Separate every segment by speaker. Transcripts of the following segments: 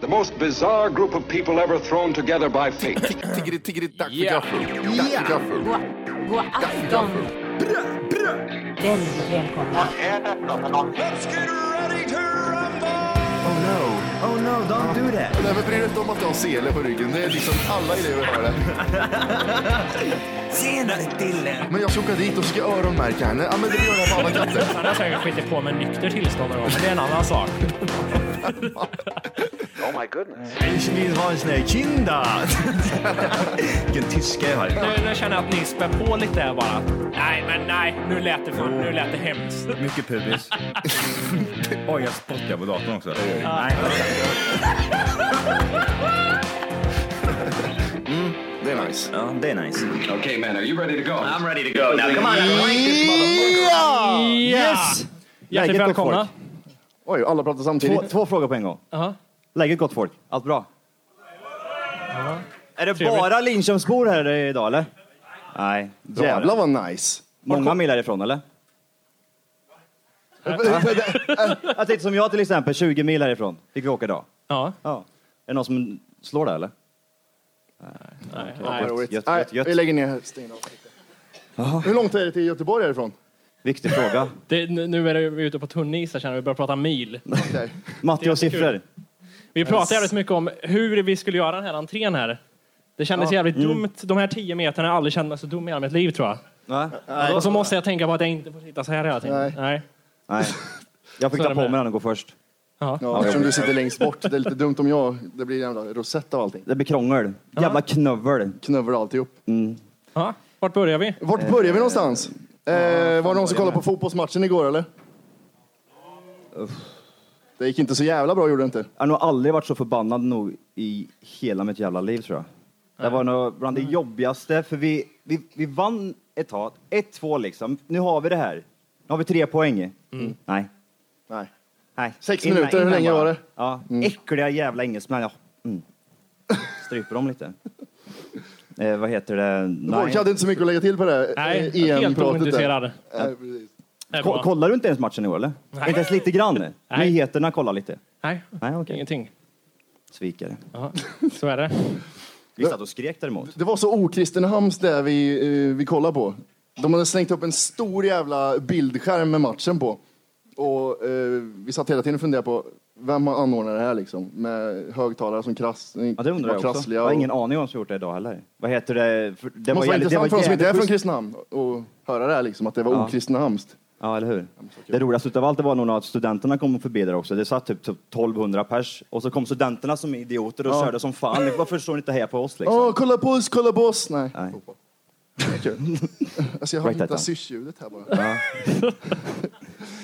Speaker 1: The most bizarre group of people ever thrown together by fate.
Speaker 2: Tiggeri, tiggeri, dack för
Speaker 3: Ja.
Speaker 2: gaffel. Dack för gaffel.
Speaker 4: God, god afton. Väldigt välkomna.
Speaker 5: Oh no, oh no, don't do that.
Speaker 2: Nej, men bry dig inte om att du har sele på ryggen. Det är liksom alla elever har det.
Speaker 5: Senare Dille.
Speaker 2: Men jag ska åka dit och ska öronmärka henne. Ja, men det gör jag på alla katter.
Speaker 3: Han har säkert skitit på med nykter tillstånd någon gång, men det är en annan sak.
Speaker 5: Ich will ha en kinda. Vilken tyska jag har.
Speaker 3: Nu, nu känner jag att ni spär på lite här bara. Nej, men nej, nu lät det, för, nu lät det hemskt.
Speaker 6: Mycket pubis. Oj, jag spottar på datorn också. Nej.
Speaker 2: Det är nice.
Speaker 6: Ja, det är nice.
Speaker 1: okay, man, are you ready to go?
Speaker 6: I'm ready to go now. Come on.
Speaker 3: Yes! Hjärtligt
Speaker 6: Läget gott
Speaker 3: välkomna.
Speaker 6: folk.
Speaker 2: Oj, alla pratar samtidigt.
Speaker 6: Två, två frågor på en gång.
Speaker 3: Jaha.
Speaker 6: Läget gott folk? Allt bra? Är det
Speaker 3: Trevligt.
Speaker 6: bara Linköpingsbor här idag eller? Nej.
Speaker 2: Jävlar vad nice.
Speaker 6: Många mil härifrån eller? Jag tänkte som jag till exempel, 20 mil härifrån fick vi åka idag.
Speaker 3: Ja.
Speaker 6: Ja. Är det någon som slår det eller?
Speaker 3: Nej,
Speaker 2: Vad
Speaker 3: nej.
Speaker 2: roligt.
Speaker 6: Gött,
Speaker 2: Nej,
Speaker 6: gött, gött.
Speaker 2: Vi lägger ner häststingen. Hur långt är det till Göteborg härifrån?
Speaker 6: Viktig fråga.
Speaker 3: Det, nu nu är det- vi är ute på tunn is här känner jag. vi börjar prata mil.
Speaker 2: Okej.
Speaker 6: Matti och
Speaker 3: Det är jättekul.
Speaker 6: siffror.
Speaker 3: Vi pratade jävligt mycket om hur vi skulle göra den här entrén här. Det kändes jävligt dumt. De här 10 meterna, jag har aldrig känt mig så dum i hela mitt liv tror jag.
Speaker 6: Va?
Speaker 3: Och så måste jag tänka på att jag inte får sitta så här hela tiden.
Speaker 2: Nej.
Speaker 3: Nej.
Speaker 6: Nej. Jag fick
Speaker 3: Så är
Speaker 6: ta
Speaker 3: det
Speaker 6: på
Speaker 3: med.
Speaker 6: mig den och gå först.
Speaker 3: Ja.
Speaker 2: Ja, eftersom du sitter längst bort. Det är lite dumt om jag... Det blir en jävla rosett av allting.
Speaker 6: Det blir krångel. Jävla knövel.
Speaker 2: Knövlar alltihop.
Speaker 3: Ja. Vart börjar vi?
Speaker 2: Vart börjar vi någonstans? Eh, var det någon som kollade på fotbollsmatchen igår eller? Det gick inte så jävla bra gjorde det inte.
Speaker 6: Jag har nog aldrig varit så förbannad nog i hela mitt jävla liv tror jag. Det var nog bland det jobbigaste, för vi, vi, vi vann ett tag. 1-2 liksom. Nu har vi det här. Nu har vi tre poäng.
Speaker 3: Mm.
Speaker 6: Nej.
Speaker 2: Nej.
Speaker 6: Nej.
Speaker 2: Sex minuter, hur länge
Speaker 6: bara.
Speaker 2: var det? Mm.
Speaker 6: Ja. Äckliga jävla engelsmän. Ja. Mm. Stryper dem lite. eh, vad heter det?
Speaker 2: Folk hade inte så mycket att lägga till på det här
Speaker 3: Nej,
Speaker 2: eh,
Speaker 3: helt
Speaker 2: EM-pratet där.
Speaker 3: ointresserad.
Speaker 2: Nej, precis.
Speaker 3: Det är
Speaker 6: Ko-
Speaker 3: bra.
Speaker 6: kollar du inte ens matchen i år eller? Inte ens lite grann?
Speaker 3: Nej.
Speaker 6: Nyheterna kollar lite.
Speaker 3: Nej,
Speaker 6: Nej, okej.
Speaker 3: ingenting.
Speaker 6: Svikare.
Speaker 3: Ja, så är det.
Speaker 6: Vi satt och skrek däremot.
Speaker 2: Det var så okristenhamns där vi, eh, vi kollade på. De hade slängt upp en stor jävla bildskärm med matchen på. Och eh, vi satt hela tiden och funderade på vem har anordnat det här liksom? Med högtalare som krass, eh,
Speaker 6: Ja, det undrar
Speaker 2: var
Speaker 6: jag också.
Speaker 2: krassliga
Speaker 6: Jag har
Speaker 2: och-
Speaker 6: ingen aning om som gjort det idag heller. Vad heter det? För
Speaker 2: Det
Speaker 6: Det
Speaker 2: måste vara
Speaker 6: jävligt-
Speaker 2: intressant för de som inte är från
Speaker 6: jävligt schysst.
Speaker 2: Kristinehamn att höra det här liksom, att det var
Speaker 6: Ja.
Speaker 2: okristenhamnskt.
Speaker 6: Ja, eller hur? Det roligaste utav allt det var nog att studenterna kom förbi där också. Det satt typ typ 1200 pers och så kom studenterna som idioter och körde som fan. Varför står ni inte här på oss liksom?
Speaker 2: Åh, kolla på oss, kolla på oss! Nej.
Speaker 6: Nej.
Speaker 2: Fotboll. Kul. alltså jag har
Speaker 6: Write that down.
Speaker 2: hittat syrsljudet här bara.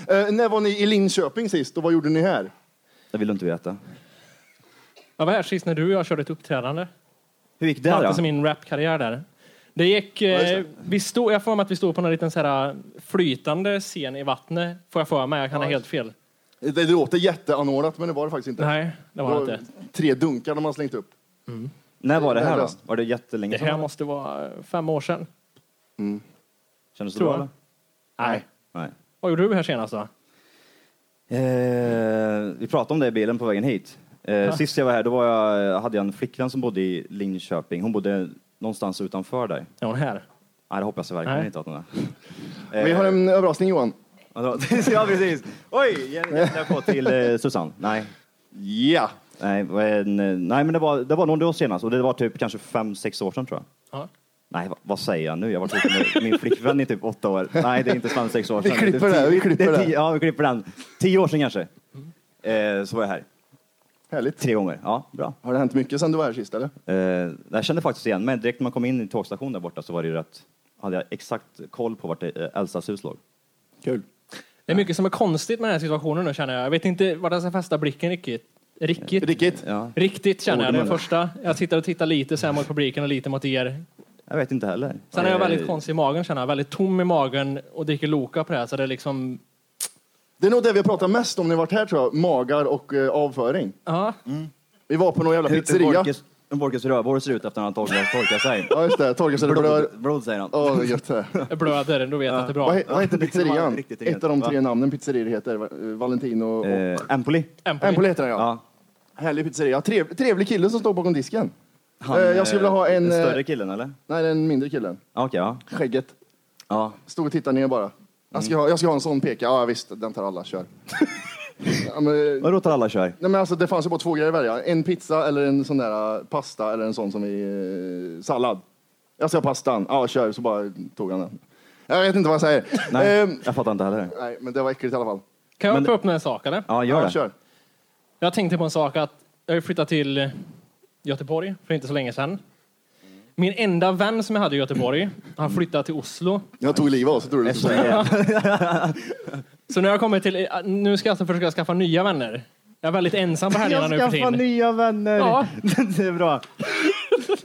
Speaker 2: Eh, när var ni i Linköping sist och vad gjorde ni här?
Speaker 6: Det vill du inte veta.
Speaker 3: Jag var här sist när du och jag körde ett uppträdande.
Speaker 6: Hur gick det
Speaker 3: Det
Speaker 6: då?
Speaker 3: som min rapkarriär där. Det gick...
Speaker 2: just
Speaker 3: Eh, vi stod, jag får mig att vi stod på någon liten så här eh, flytande scen i vattnet. Får jag för mig. Jag kan ha helt fel.
Speaker 2: Det låter jätteanordnat men det var det faktiskt inte.
Speaker 3: Nej, det var det inte.
Speaker 2: tre dunkar de har slängt upp.
Speaker 6: När var det här då?
Speaker 2: Nervöst.
Speaker 6: Var det jättelänge
Speaker 3: Det
Speaker 6: sedan?
Speaker 3: här måste vara eh, fem år sedan.
Speaker 6: Kändes
Speaker 3: tror
Speaker 6: det bra
Speaker 3: jag.
Speaker 6: eller?
Speaker 3: Nej.
Speaker 6: Nej.
Speaker 3: Vad gjorde du här senast då?
Speaker 6: Eh, vi pratade om det i bilen på vägen hit. Eh, sist jag var här då var jag, hade jag en flickvän som bodde i Linköping. Hon bodde någonstans utanför där.
Speaker 3: Är hon här?
Speaker 6: Nej, det hoppas jag verkligen
Speaker 3: Nej.
Speaker 6: inte att hon är.
Speaker 2: Vi har en
Speaker 6: Eh.
Speaker 2: överraskning Johan.
Speaker 6: Ja, ja, precis. Oj, jag på till eh, Susanne. Nej.
Speaker 2: Ja.
Speaker 6: Nej, men, eh, nej, men det var, det var nog då senast och det var typ kanske fem, sex år sedan tror jag.
Speaker 3: Ja.
Speaker 6: Nej, vad, vad säger jag nu? Jag har varit ihop med min flickvän i typ åtta år. Nej, det är inte fem, sex år
Speaker 2: Vi
Speaker 6: sedan.
Speaker 2: klipper
Speaker 6: det, är
Speaker 2: det, vi klipper
Speaker 6: är
Speaker 2: det.
Speaker 6: tio- Ja, vi klipper den. Tio år sedan kanske. Eh, så var jag här.
Speaker 2: Mm. Härligt.
Speaker 6: Tre gånger. Ja, bra.
Speaker 2: Har det hänt mycket sen du var här sist eller?
Speaker 6: Eh, jag kände faktiskt igen mig. Direkt när man kom in i tågstationen där borta så var det ju rätt, hade jag exakt koll på vart det, eh, Elsas hus låg.
Speaker 2: Kul.
Speaker 3: Det är mycket som är konstigt med den här situationen nu känner jag. Jag vet inte vart jag ska fästa blicken riktigt. Riktigt.
Speaker 2: Riktigt.
Speaker 6: Ja,
Speaker 3: Riktigt känner jag. Det är
Speaker 6: Orden, eller?
Speaker 3: första. Jag sitter och tittar lite så här mot publiken och lite mot er.
Speaker 6: jag vet inte heller.
Speaker 3: Sen är jag
Speaker 6: Eh,
Speaker 3: väldigt konstig i magen känner jag. Väldigt tom i magen och dricker Loka på det här. Så det är liksom...
Speaker 2: Det är nog det vi har pratat mest om när vi har varit här tror jag. Magar och eh, avföring.
Speaker 3: Ja.
Speaker 6: Mm.
Speaker 2: Vi var på någon jävla pizzeria.
Speaker 6: Borkes- Hur Borkes Eh, rövhår ser ut efter att han har torkat- torkat sig.
Speaker 2: Ja just det, torkar sig det blöd.
Speaker 6: Blod, blod säger han.
Speaker 2: Åh, vad gött det är.
Speaker 3: Jag blöder, då vet jag att det är
Speaker 2: Vad
Speaker 3: bra.
Speaker 2: he- Vad heter
Speaker 6: var
Speaker 2: pizzerian?
Speaker 6: riktigt
Speaker 2: Ett av de
Speaker 6: egentligen,
Speaker 2: tre namnen pizzerior heter. eh, Valentino och...
Speaker 6: Eh, Empoli.
Speaker 3: Empoli.
Speaker 2: Empoli heter den ja.
Speaker 6: Ja.
Speaker 2: Härlig pizzeria. Trev, trevlig kille som står bakom disken. Eh, jag skulle vilja ha en...
Speaker 6: Den
Speaker 2: eh,
Speaker 6: större killen eller?
Speaker 2: Nej, den mindre killen.
Speaker 6: Ja, Okej, ja.
Speaker 2: Skägget.
Speaker 6: ja.
Speaker 2: Stod och tittade ner bara. Jag ska, ha, jag ska ha en sån peka. Ja visst, den tar alla. Kör. ja, men,
Speaker 6: Vadå tar alla kör?
Speaker 2: Nej, men alltså, det fanns ju bara två grejer att välja. En pizza eller en sån där eh, pasta eller en sån som vi... Eh, sallad. Jag ska ha pastan. Ja, kör. Så bara tog han den. Jag vet inte vad jag säger.
Speaker 6: Nej,
Speaker 2: Ehm,
Speaker 6: jag fattar inte heller det.
Speaker 2: nej men det var äckligt i alla fall.
Speaker 3: Kan jag
Speaker 6: Men-
Speaker 3: få upp en sak eller?
Speaker 6: Ja, gör
Speaker 2: ja,
Speaker 6: det.
Speaker 2: kör.
Speaker 3: Jag tänkte på en sak att jag har ju flyttat till Göteborg för inte så länge sedan. Min enda vän som jag hade i Göteborg, han flyttade till Oslo.
Speaker 2: Jag tog livet av så tror du det skulle säga.
Speaker 3: Så nu har jag kommit till, nu ska jag alltså försöka skaffa nya vänner. Jag är väldigt ensam på helgerna nu för tiden.
Speaker 6: nya vänner.
Speaker 3: Ja.
Speaker 6: det är bra.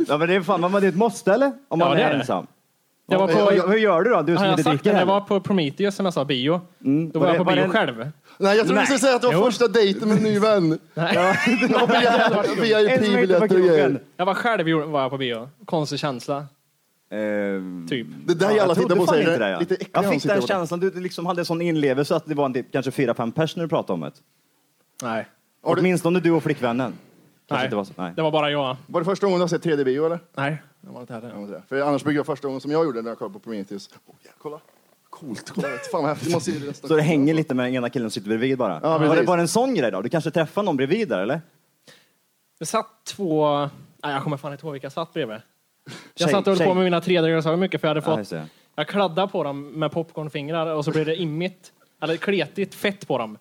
Speaker 6: Ja, men det är fan, man, det är ett måste eller? Om man
Speaker 3: Ja, det
Speaker 6: är,
Speaker 3: är det.
Speaker 6: ensam.
Speaker 3: Jag var
Speaker 6: Vad-
Speaker 3: på,
Speaker 6: hur gör du då? Du
Speaker 3: har
Speaker 6: som
Speaker 3: jag
Speaker 6: inte
Speaker 3: sagt
Speaker 6: dricker
Speaker 3: det? Jag
Speaker 6: heller?
Speaker 3: var på Prometheus som jag sa, bio. Då var,
Speaker 6: Mm. var
Speaker 3: jag
Speaker 6: det-
Speaker 3: på bio
Speaker 6: var det-
Speaker 3: själv.
Speaker 2: Nej, jag trodde du
Speaker 6: Nej.
Speaker 2: skulle säga att det var
Speaker 3: Jo.
Speaker 2: första dejten med en ny vän.
Speaker 3: Nej.
Speaker 6: En som inte
Speaker 2: VIP-biljetter
Speaker 6: var
Speaker 2: och grejer.
Speaker 6: krogen.
Speaker 3: Jag var själv gjorde- var jag på bio. Konstig känsla,
Speaker 6: Ehm,
Speaker 3: typ.
Speaker 2: Det där
Speaker 6: Ja,
Speaker 2: jävla
Speaker 6: trodde
Speaker 2: tittar på
Speaker 6: fan
Speaker 2: sig.
Speaker 6: inte
Speaker 2: det-
Speaker 6: ja.
Speaker 2: Lite äcklig
Speaker 6: jag fick
Speaker 2: ansikte
Speaker 6: den
Speaker 2: var det.
Speaker 6: känslan, du liksom hade sån inlevelse att det var en typ, kanske fyra, fem pers när du pratade om det.
Speaker 3: Nej.
Speaker 2: Har du-
Speaker 6: Åtminstone du och flickvännen. Kanske
Speaker 3: Nej.
Speaker 6: inte var så. Nej.
Speaker 3: Det var bara jag.
Speaker 2: Var det första gången du har sett 3D-bio eller?
Speaker 3: Nej, det var inte heller.
Speaker 2: Ja, men det är. För annars brukar jag första gången som jag gjorde när jag kollade på Prometheus. Åh, ja, kolla. Coolt. Kolla. Fan vad häftigt. Man ser ju resten.
Speaker 6: Så det hänger lite med den ena killen som sitter bredvid bara.
Speaker 2: Ja,
Speaker 6: var det
Speaker 2: precis.
Speaker 6: bara en sån grej då? Du kanske träffade någon bredvid där eller?
Speaker 3: Det satt två... Nej, jag kommer fan inte ihåg vilka jag satt bredvid. Jag
Speaker 6: Tjej-
Speaker 3: satt och höll
Speaker 6: tjej.
Speaker 3: på med mina 3D-glasögon mycket för jag hade
Speaker 6: Ja,
Speaker 3: fått...
Speaker 6: just det.
Speaker 3: jag kladdade på dem med popcornfingrar och så blev det immigt, eller kletigt fett på dem.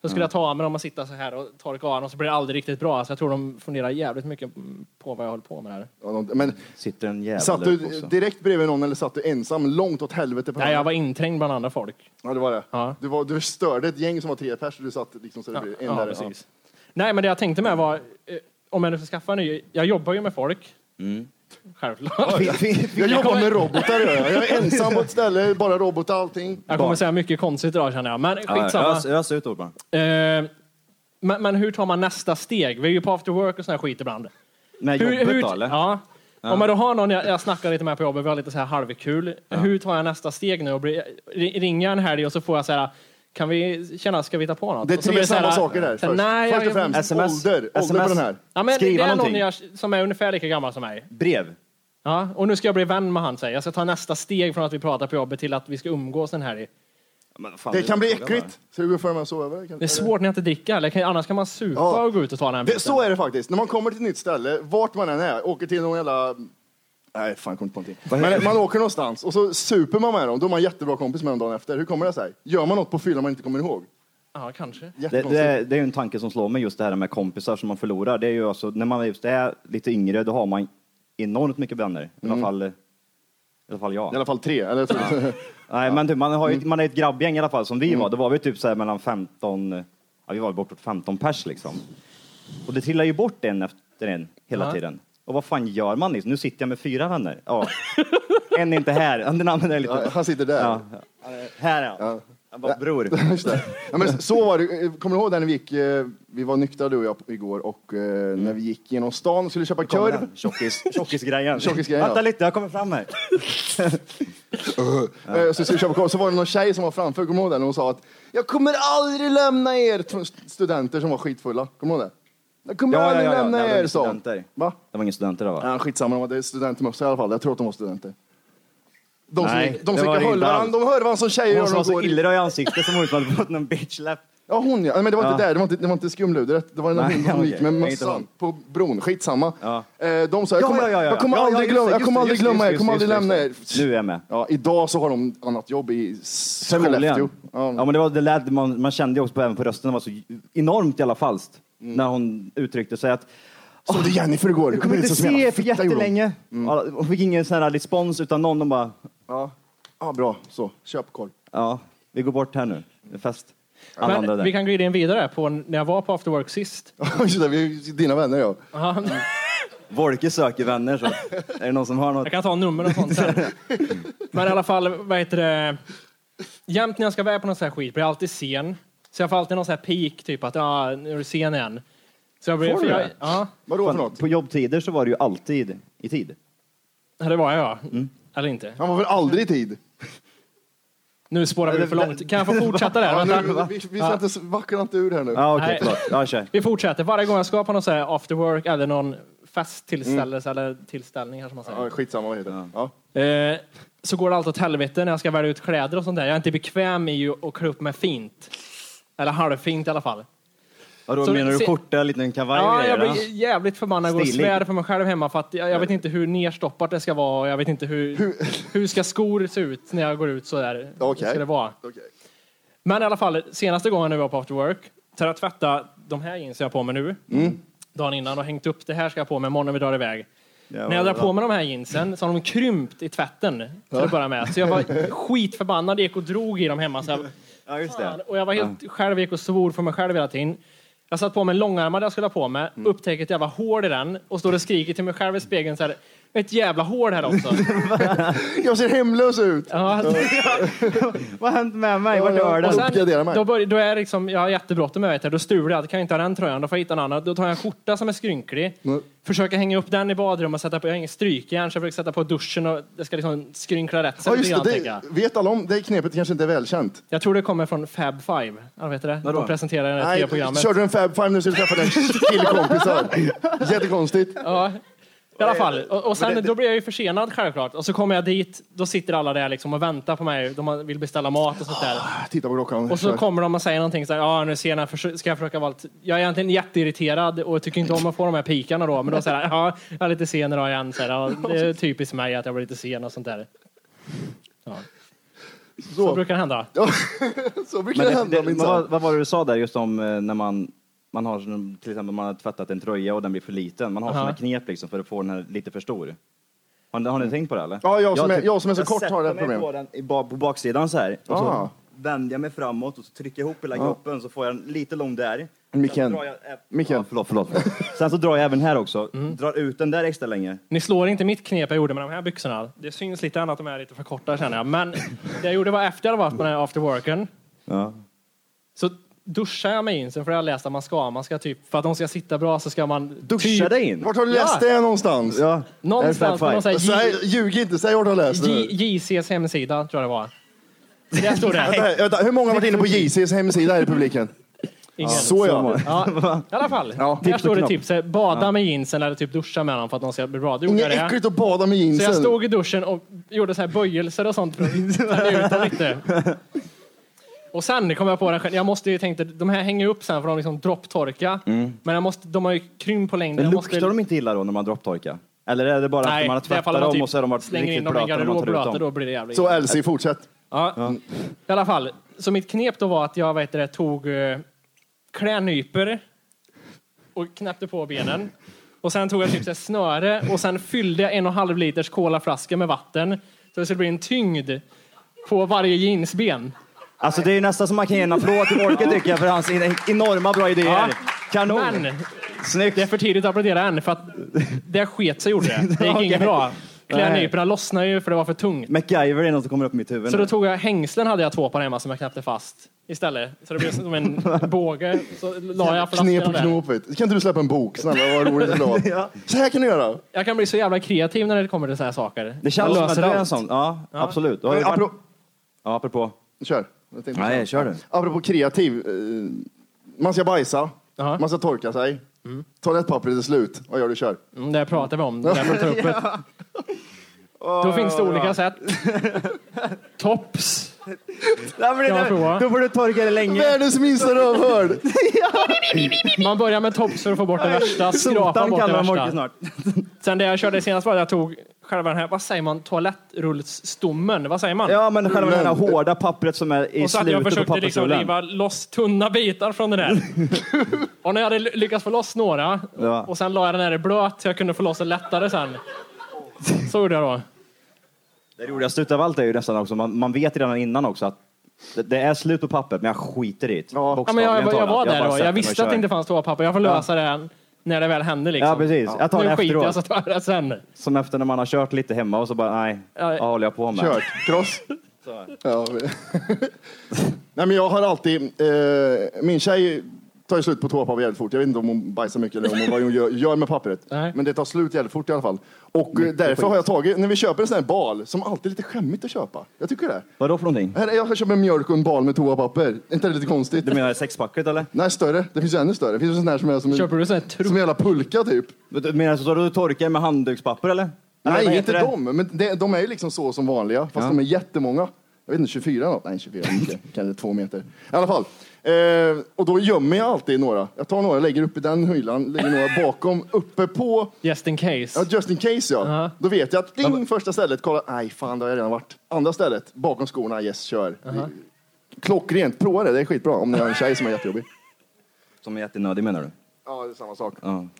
Speaker 3: Så
Speaker 6: Mm.
Speaker 3: skulle jag ta av mig dem och sitta så här och torka av dem och så blev det aldrig riktigt bra. Så jag tror de funderar jävligt mycket på vad jag höll på med
Speaker 6: Mm.
Speaker 3: här.
Speaker 2: Ja, någon- Men
Speaker 6: Sitter en jävel
Speaker 2: satt
Speaker 6: där uppe
Speaker 2: du
Speaker 6: också.
Speaker 2: direkt bredvid någon eller satt du ensam långt åt helvete? På
Speaker 3: Nej, jag var inträngd bland andra folk.
Speaker 2: Ja, det var det.
Speaker 3: Ja.
Speaker 2: Du, var, du störde ett gäng som var tre pers och du satt liksom så det
Speaker 3: Ja,
Speaker 2: blev en
Speaker 3: ja,
Speaker 2: där.
Speaker 3: precis. Nej, men det jag tänkte med var, eh, om jag nu ska skaffa en ny, jag jobbar ju med folk.
Speaker 6: Mm.
Speaker 3: Självklart.
Speaker 2: Jag jobbar
Speaker 3: kommer-
Speaker 2: med robotar gör jag. Jag är ensam på ett ställe, bara robotar allting.
Speaker 3: Jag kommer säga mycket konstigt idag känner jag, men
Speaker 6: Ja,
Speaker 3: skitsamma.
Speaker 2: alltså-
Speaker 6: ös, ös ut ord bara.
Speaker 3: Eh, men, men hur tar man nästa steg? Vi är ju på after work och sån här skit ibland.
Speaker 6: Med
Speaker 3: Hur,
Speaker 6: jobbet
Speaker 3: hur,
Speaker 6: då eller?
Speaker 3: Ja. Om jag då har någon jag, jag snackar lite med på jobbet, vi har lite så här halvkul. Hur tar jag nästa steg nu? Och blir, ri- ringer jag en helg och så får jag så här, kan vi känna, ska vi ta på något?
Speaker 2: Det är
Speaker 3: Och så
Speaker 2: tre
Speaker 3: blir så här,
Speaker 2: samma saker där.
Speaker 3: så här,
Speaker 2: Först,
Speaker 3: nej,
Speaker 2: först
Speaker 3: jag-
Speaker 2: och främst,
Speaker 6: SMS.
Speaker 2: ålder. Ålder på
Speaker 6: SMS.
Speaker 2: den här.
Speaker 3: Ja, men det
Speaker 6: Skriva
Speaker 3: är någon
Speaker 6: någonting.
Speaker 3: jag, som är ungefär lika gammal som mig.
Speaker 6: Brev.
Speaker 3: Ja, och nu ska jag bli vän med han säger. Jag ska ta nästa steg från att vi pratar på jobbet till att vi ska umgås en helg.
Speaker 6: Men fan,
Speaker 2: Det kan bli
Speaker 6: frågan
Speaker 2: äckligt. Så du går för mig att sova över?
Speaker 3: Det är svårt när jag inte dricker, eller? Kan- annars kan man supa
Speaker 2: Ja.
Speaker 3: och gå ut och ta den här
Speaker 2: Det, så är det faktiskt. När man kommer till ett nytt ställe, vart man än är, åker till någon jävla... Nej, fan, jag kom inte på någonting. Men man åker någonstans och så super man med dem, då är man jättebra kompis med dem dagen efter. Hur kommer det sig? Gör man något på fyllan man inte kommer ihåg?
Speaker 3: Ja, kanske.
Speaker 6: Det,
Speaker 2: Jättekonstigt.
Speaker 6: det, det är ju en tanke som slår mig just det här med kompisar som man förlorar. Det är ju alltså, när man just är lite yngre då har man enormt mycket vänner. I alla fall, i alla fall jag.
Speaker 2: Mm. I alla Mm. fall tre. Eller,
Speaker 6: Nej, men typ, man, har ju, man är ett grabbgäng i alla fall som vi
Speaker 2: Mm.
Speaker 6: var. Då var vi typ så här mellan 15, ja, vi var bortåt 15 pers liksom. Och det trillar ju bort en efter en hela
Speaker 3: Ja.
Speaker 6: tiden. Och vad fan gör man liksom? Nu sitter jag med fyra vänner. Ja. en är inte här, den andra är lite...
Speaker 2: Ja, han sitter där.
Speaker 6: Ja. Här är han. Jag bara, bror.
Speaker 2: Just det. Ja, men så var det. Kommer du ihåg där när vi gick, eh, vi var nyktra du och jag igår och eh, när vi gick genom stan och skulle köpa korv.
Speaker 6: Tjockis, tjockisgrejen.
Speaker 2: Tjockisgrejen, ja.
Speaker 6: Vänta lite, jag kommer fram här.
Speaker 2: Eh, Så, skulle vi köpa korv. så var det någon tjej som var framför, kommer du ihåg det? Och Hon sa att jag kommer aldrig lämna er, Tro- studenter som var skitfulla. Kommer du ihåg det? Jag kommer
Speaker 6: Ja, ja,
Speaker 2: aldrig
Speaker 6: ja, ja.
Speaker 2: lämna
Speaker 6: Nej, de är
Speaker 2: er, sa hon.
Speaker 6: studenter.
Speaker 2: Va?
Speaker 6: Det var ingen studenter då va?
Speaker 2: Ja, skitsamma, de hade studentmössa i alla fall. Jag tror att de var studenter. De som,
Speaker 6: Nej,
Speaker 2: gick- de
Speaker 6: det
Speaker 2: som
Speaker 6: var
Speaker 2: gick och
Speaker 6: det
Speaker 2: höll
Speaker 6: inte alls.
Speaker 2: varandra, de hör varandra som tjejer
Speaker 6: Hon som
Speaker 2: när
Speaker 6: var
Speaker 2: de
Speaker 6: så
Speaker 2: går i-
Speaker 6: illröd i ansiktet som om hon hade fått någon bitch slap.
Speaker 2: Ja, hon ja. Men det var inte
Speaker 6: Ja.
Speaker 2: där, det var inte, det var inte skumludret. Det var den där
Speaker 6: Nej,
Speaker 2: hunden som
Speaker 6: okej.
Speaker 2: gick med
Speaker 6: Det är inte
Speaker 2: mössan
Speaker 6: hon.
Speaker 2: på bron. Skitsamma.
Speaker 6: Ja.
Speaker 2: Eh, De sa, jag
Speaker 6: Ja,
Speaker 2: kommer
Speaker 6: ja, ja, ja.
Speaker 2: jag kommer
Speaker 6: Ja, ja,
Speaker 2: aldrig
Speaker 6: just
Speaker 2: glömma
Speaker 6: det,
Speaker 2: jag
Speaker 6: just
Speaker 2: kommer
Speaker 6: det,
Speaker 2: aldrig
Speaker 6: just det,
Speaker 2: glömma er, jag
Speaker 6: just
Speaker 2: kommer
Speaker 6: det,
Speaker 2: aldrig
Speaker 6: just
Speaker 2: lämna
Speaker 6: det,
Speaker 2: er.
Speaker 6: just det. Nu är jag med.
Speaker 2: Ja, idag så har de annat jobb i s- Skellefteå.
Speaker 6: Förmodligen.
Speaker 2: Ja.
Speaker 6: Ja, men det var det lät, man, man kände ju också på, även på rösten, det var så enormt jävla falskt.
Speaker 2: Mm.
Speaker 6: När hon uttryckte sig att
Speaker 2: Såg du Jennifer igår?
Speaker 6: du
Speaker 2: Hon
Speaker 6: kommer
Speaker 2: är
Speaker 6: inte
Speaker 2: så som
Speaker 6: se
Speaker 2: jävla
Speaker 6: er för
Speaker 2: fitta, gjorde hon.
Speaker 6: jättelänge. Mm. Ja, hon fick ingen sån här respons utan någon, de bara,
Speaker 2: Ja, ja bra. Så, köp korv.
Speaker 6: ja, vi går bort här nu. Det är fest. Alla andra
Speaker 3: Men
Speaker 6: där.
Speaker 3: vi kan glida in vidare på när jag var på after work sist.
Speaker 2: Just det, vi är ju dina vänner ja.
Speaker 3: Ja,
Speaker 6: Volke söker vänner så. är det någon som har något?
Speaker 3: jag kan ta nummer och sånt sen. Men i alla fall, vad heter det? Jämt när jag ska vara på någon sån här skit blir jag alltid sen. Så jag får alltid någon sån här peak, typ att ja, nu är du sen igen. Så jag blir,
Speaker 6: Får du
Speaker 3: för jag,
Speaker 6: det?
Speaker 3: Ja,
Speaker 2: Vadå för
Speaker 6: Fan,
Speaker 2: något?
Speaker 6: På jobbtider så var det ju alltid i tid.
Speaker 2: Mm.
Speaker 3: det var jag ja. Eller inte.
Speaker 2: Han var väl aldrig i tid?
Speaker 3: Nu spårar vi
Speaker 6: Det-
Speaker 3: för
Speaker 6: det-
Speaker 3: långt. Kan jag få fortsätta där?
Speaker 2: Ja,
Speaker 3: Vänta.
Speaker 2: nu, vi vi ska inte, vackla inte ur här nu.
Speaker 6: Ja, Ah, okej,
Speaker 3: Nej.
Speaker 6: förlåt. Ja, kör.
Speaker 3: Vi fortsätter. Varje gång jag ska på någon så här after work eller någon festtillställelse eller tillställning här som man
Speaker 2: Mm. Ja,
Speaker 3: säger.
Speaker 2: skitsamma vad det heter. Ja.
Speaker 3: Eh, så går det allt åt helvete när jag ska välja ut kläder och sånt där. Jag är inte bekväm i att klä upp mig fint. Eller halvfint i alla fall.
Speaker 6: Vadå,
Speaker 3: Så-
Speaker 6: menar du
Speaker 3: se-
Speaker 6: skjorta, liten kavaj och
Speaker 3: Ja,
Speaker 6: grejer?
Speaker 3: jag
Speaker 6: va?
Speaker 3: blir jävligt förbannad och går och
Speaker 6: Stilig.
Speaker 3: svär för mig själv hemma för att jag, jag vet inte hur nerstoppat det ska vara och jag vet inte hur, hur ska skor se ut när jag går ut så där.
Speaker 2: Okej.
Speaker 3: Ska det vara.
Speaker 2: Okej.
Speaker 3: Men i alla fall, senaste gången nu var på after work, så har jag tvättat de här jeansen jag har på mig nu, dagen innan och hängt upp det här ska jag ha på mig imorgon när vi drar iväg.
Speaker 6: Ja,
Speaker 3: När jag drar
Speaker 6: va-
Speaker 3: på mig de här jeansen så har de krympt i tvätten till att börja med. Så jag var skitförbannad, gick och drog i dem hemma. Så jag,
Speaker 6: Ja, just
Speaker 3: Fan,
Speaker 6: det.
Speaker 3: och jag var helt själv, gick och svor för mig själv hela tiden. Jag satt på mig en långärmad jag skulle ha på mig, upptäcker att jag var hård i den och står och skriker till mig själv i spegeln så här, ett jävla hård här också.
Speaker 2: Jag ser hemlös ut!
Speaker 3: ja. alltså,
Speaker 6: Vad har hänt med mig? Vart
Speaker 2: Ja, ja.
Speaker 6: är den?
Speaker 3: Och
Speaker 2: Alltså- Uppgradera
Speaker 3: sen,
Speaker 2: mig.
Speaker 3: då, börj- då är jag liksom, jag har jättebråttom med vet jag, då stular jag, då kan jag inte ha den tröjan, då får jag hitta en annan. Då tar jag en skjorta som är skrynklig,
Speaker 2: Mm.
Speaker 3: försöker hänga upp den i badrummet, sätta på, jag har ingen strykjärn så jag försöker sätta på duschen och det ska liksom skrynkla rätt sig
Speaker 2: Ja,
Speaker 3: lite
Speaker 2: just
Speaker 3: grann,
Speaker 2: det,
Speaker 3: tänker jag.
Speaker 2: det vet alla om. Det knepet kanske inte är välkänt.
Speaker 3: Jag tror det kommer från Fab Five, eller vet du det?
Speaker 6: Vadå?
Speaker 3: De presenterade det här programmet.
Speaker 2: körde du en Fab Five när du skulle träffa dina killkompisar? Jättekonstigt.
Speaker 3: Ja. I alla fall. Och, och sen, då blir jag ju försenad självklart. Och så kommer jag dit, då sitter alla där liksom och väntar på mig. De vill beställa mat och sånt där.
Speaker 2: Titta på klockan.
Speaker 3: Och så kommer de och säger någonting så här, ja nu ser jag, förs- ska jag försöka vara lite... Jag är egentligen jätteirriterad och tycker inte om att få de här pikarna då. Men då säger ja jag är lite sen idag igen. Så här, ja, det är typiskt mig att jag blir lite sen och sånt där. Så
Speaker 2: så,
Speaker 3: brukar det hända.
Speaker 2: så brukar
Speaker 6: Men
Speaker 2: det,
Speaker 6: det,
Speaker 2: hända
Speaker 6: det, men vad,
Speaker 2: minsann.
Speaker 6: vad var det du sa där just om eh, när man, man har sån- till exempel man har tvättat en tröja och den blir för liten. Man har
Speaker 3: Aha.
Speaker 6: såna knep liksom för att få den här lite för stor. Har ni, har ni tänkt på det eller?
Speaker 2: Ja, jag som är-
Speaker 6: typ-
Speaker 2: jag som är så kort har det
Speaker 6: sätter mig
Speaker 2: problemet.
Speaker 6: På, den, i ba- på baksidan så här och
Speaker 2: Ah.
Speaker 6: så vänder jag mig framåt och så trycker jag ihop hela kroppen så får jag den lite lång där.
Speaker 2: Micken.
Speaker 6: Sen drar jag- eh,
Speaker 2: Micken. Mm.
Speaker 6: Ja, förlåt, förlåt. Sen så drar jag även här också. Drar ut den där extra länge.
Speaker 3: Ni slår inte mitt knep jag gjorde med de här byxorna. Det syns lite grann att de är lite för korta känner jag. Men det jag gjorde var efter jag hade varit på den här after worken.
Speaker 6: Ja.
Speaker 3: Så duschar jag mig in, sen får jag läsa att man ska. Man ska typ, för att de ska sitta bra så ska man...
Speaker 6: Duscha
Speaker 3: typ,
Speaker 6: dig in.
Speaker 2: Vart har du läst
Speaker 3: Ja.
Speaker 2: det någonstans?
Speaker 6: Ja.
Speaker 3: Någonstans på någon sån här
Speaker 2: Säg, ljug inte, säg vart du har läst
Speaker 6: Alltså,
Speaker 2: det.
Speaker 3: J-
Speaker 2: nu.
Speaker 3: J- JCs hemsida, tror jag det var. Där stod det.
Speaker 2: Nej, vänta, hur många har varit inne på JCs hemsida här i publiken?
Speaker 3: Ingen.
Speaker 2: Så ja.
Speaker 3: Ja, I alla fall,
Speaker 2: Ja,
Speaker 3: där
Speaker 2: tips
Speaker 3: står det
Speaker 6: knopp.
Speaker 3: tips. eh, Bada med jeansen eller typ duscha med dem för att de ska bli bra. Det gjorde
Speaker 2: Inget
Speaker 3: jag det.
Speaker 2: äckligt att bada med
Speaker 3: Så jag
Speaker 2: jeansen.
Speaker 3: stod i duschen och gjorde så här böjelser och sånt för att tänja ut dem lite. Och sen kom jag på den själv. Jag måste ju tänkte, de här hänger upp sen för de liksom dropptorka. Men jag måste, de har ju krympt på längden.
Speaker 6: Mm. Men
Speaker 3: Jag
Speaker 6: luktar
Speaker 3: måste,
Speaker 6: de inte illa då när man dropptorkar? Eller är det bara att
Speaker 3: Nej,
Speaker 6: man har
Speaker 3: det är ifall
Speaker 6: tvättat
Speaker 3: man
Speaker 6: dem
Speaker 3: typ
Speaker 6: och så har de varit
Speaker 3: slänger in
Speaker 6: riktigt
Speaker 3: dem i en
Speaker 6: blöta när man
Speaker 3: garderob
Speaker 6: tar
Speaker 3: blöta,
Speaker 6: ut dem?
Speaker 3: då blir det jävligt
Speaker 2: Så Elsie, fortsätt.
Speaker 3: Ja. I alla fall, så mitt knep då var att jag vet det, tog uh, klädnyper och knäppte på benen. Och sen tog jag typ så här snöre och sen fyllde jag en och en halv liters colaflaska med vatten. Så det skulle bli en tyngd på varje jeansben.
Speaker 6: Alltså det är ju nästan som man kan ge en applåd till Folke tycker jag för hans en- enorma bra idéer.
Speaker 3: Ja.
Speaker 6: Kanon!
Speaker 3: Men
Speaker 6: Snyggt!
Speaker 3: det är för tidigt att applådera än för att det sket sig gjorde det. Det gick
Speaker 6: Okej.
Speaker 3: inget bra. Klädnyperna
Speaker 6: Nej.
Speaker 3: lossnade ju för det var för tungt.
Speaker 6: MacGyver är något som kommer upp i mitt huvud
Speaker 3: Så
Speaker 6: nu.
Speaker 3: då tog jag hängslen hade jag två par hemma som jag knäppte fast istället. Så det blev som en båge. Så la jag
Speaker 2: Knep på
Speaker 3: flaskorna där.
Speaker 2: knopet. Kan inte du släppa en bok? Snälla, vad roligt det skulle vara. Så här kan du göra.
Speaker 3: Jag kan bli så jävla kreativ när det kommer till så här saker.
Speaker 6: Det känns
Speaker 3: Jag
Speaker 6: som att
Speaker 3: löser
Speaker 6: du är
Speaker 3: allt.
Speaker 6: en sån. Ja, absolut. Du har ju
Speaker 2: Men
Speaker 6: varit...
Speaker 2: apropå-
Speaker 6: Ja, apropå.
Speaker 2: Kör. Jag tänkte-
Speaker 6: Nej, kör du.
Speaker 2: Apropå kreativ. eh, Man ska bajsa,
Speaker 3: Ja.
Speaker 2: man ska torka sig. Toalettpappret är slut. Vad gör du? Kör.
Speaker 3: Mm, det pratar vi om. Det där får ta upp ett. Då finns det olika sätt. Tops. Kan man prova?
Speaker 6: Då får du torka det länge.
Speaker 2: Världens minsta rövhörd!
Speaker 3: Man börjar med tops för att få bort det värsta. Skrapa
Speaker 6: Sotan
Speaker 3: bort det
Speaker 6: kallar Folke
Speaker 3: värsta.
Speaker 6: snart.
Speaker 3: Sen det jag körde senast var att jag tog själva den här, vad säger man, toalettrullsstommen. Vad säger man?
Speaker 6: Ja, men själva det här hårda pappret som är i
Speaker 3: Mm. Och så att jag
Speaker 6: slutet på
Speaker 3: försökte liksom
Speaker 6: pappersrullen.
Speaker 3: riva loss tunna bitar från den där. och när jag hade ly- lyckats få loss några
Speaker 6: Ja.
Speaker 3: och sen la jag den här i blöt så jag kunde få loss den lättare sen. Så gjorde jag då.
Speaker 6: Det roligaste utav allt är ju nästan också, man, man vet redan innan också att det, det är slut på pappret, men jag skiter i det.
Speaker 3: Ja, men jag, jag, jag var där då. Jag visste att det inte fanns toapapper. Jag får lösa det när det väl händer. Liksom.
Speaker 6: Ja, precis. Jag tar
Speaker 3: nu
Speaker 6: det
Speaker 3: skiter jag alltså.
Speaker 6: efteråt. Mm.
Speaker 3: så tar jag det sen.
Speaker 6: Som efter när man har kört lite hemma och så bara, nej,
Speaker 3: Ja.
Speaker 6: vad håller jag på med?
Speaker 2: Kört. Kross. Ja. Nej, men jag har alltid... Eh, min tjej tar ju slut på toapapper jävligt fort. Jag vet inte om hon bajsar mycket eller om hon, vad hon gör, gör med pappret.
Speaker 3: Nej.
Speaker 2: Men det tar slut jävligt fort i alla fall. Och eh, därför har jag tagit, när vi köper en sån här bal, som alltid är lite skämmigt att köpa. Jag tycker det.
Speaker 6: Vad då för någonting?
Speaker 2: Här, är- jag köper mjölk och en bal med toapapper. Är inte det lite konstigt?
Speaker 6: Du menar sexpacket eller?
Speaker 2: Nej, större. Det finns ju ännu större. Det finns ju sån här som är som en,
Speaker 3: Köper
Speaker 2: som
Speaker 3: du sån här tro...
Speaker 2: en jävla pulka typ.
Speaker 6: Du menar så att du torkar med handdukspapper eller? Eller vad
Speaker 2: Nej,
Speaker 6: heter
Speaker 2: inte
Speaker 6: det?
Speaker 2: dem. Men det, de är ju liksom så som vanliga, fast
Speaker 6: Ja.
Speaker 2: de är jättemånga. Jag vet inte, 24 något? Nej, 24 är mycket. Kanske två meter. I alla fall. Eh, och då gömmer jag alltid några. Jag tar några, lägger upp i den hyllan, lägger några bakom, uppe på.
Speaker 3: Just in case.
Speaker 2: Ja, just in case ja.
Speaker 3: Ja.
Speaker 2: Då vet jag att ding, första stället, kolla, nej fan, det har jag redan varit. Andra stället, bakom skorna, yes, kör. Klockrent, prova det, det är skitbra. Om ni har en tjej som är jättejobbig.
Speaker 6: Som är jättenödig menar du?
Speaker 2: Ja, det är samma sak.
Speaker 6: Ja.
Speaker 2: Om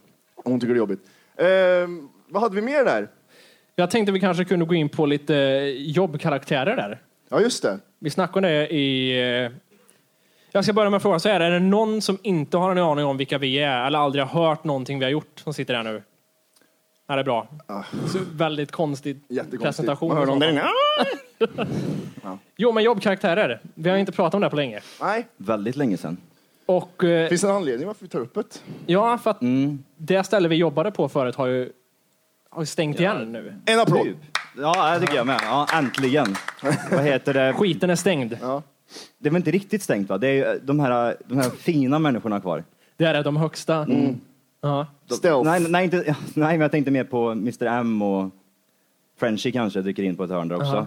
Speaker 2: hon tycker det är jobbigt. Eh, vad hade vi mer där?
Speaker 3: Jag tänkte vi kanske kunde gå in på lite eh, jobbkaraktärer där.
Speaker 2: Ja, just det.
Speaker 3: Vi snackade om det i... eh, Jag ska börja med att fråga så här. Är det någon som inte har en aning om vilka vi är eller aldrig har hört någonting vi har gjort som sitter här nu? Ja, det är bra.
Speaker 6: Ah.
Speaker 3: Så väldigt konstig
Speaker 2: Jättekonstigt.
Speaker 3: presentation.
Speaker 2: Man hör
Speaker 3: och
Speaker 2: någon
Speaker 3: så.
Speaker 2: där inne. Ah!
Speaker 3: Jo, men jobbkaraktärer. Vi har inte pratat om det på länge.
Speaker 2: Nej,
Speaker 6: Väldigt länge sedan.
Speaker 3: Och eh,
Speaker 2: finns det en anledning varför vi tar upp det?
Speaker 3: ja, för att
Speaker 6: Mm.
Speaker 3: det ställe vi jobbade på förut har ju har ju stängt igen nu.
Speaker 2: En applåd.
Speaker 6: Typ. Ja, det tycker jag med. Ja, äntligen. Vad heter det?
Speaker 3: Skiten är stängd.
Speaker 6: Det är väl inte riktigt stängt va? Det är ju eh, de här, de här fina människorna kvar.
Speaker 3: Det är de högsta.
Speaker 6: Mm.
Speaker 3: Ja.
Speaker 2: Stealth.
Speaker 6: Nej, nej, inte, nej, men jag tänkte mer på Mr M och Frenchy kanske dyker in på ett hörn där också.
Speaker 3: Aha.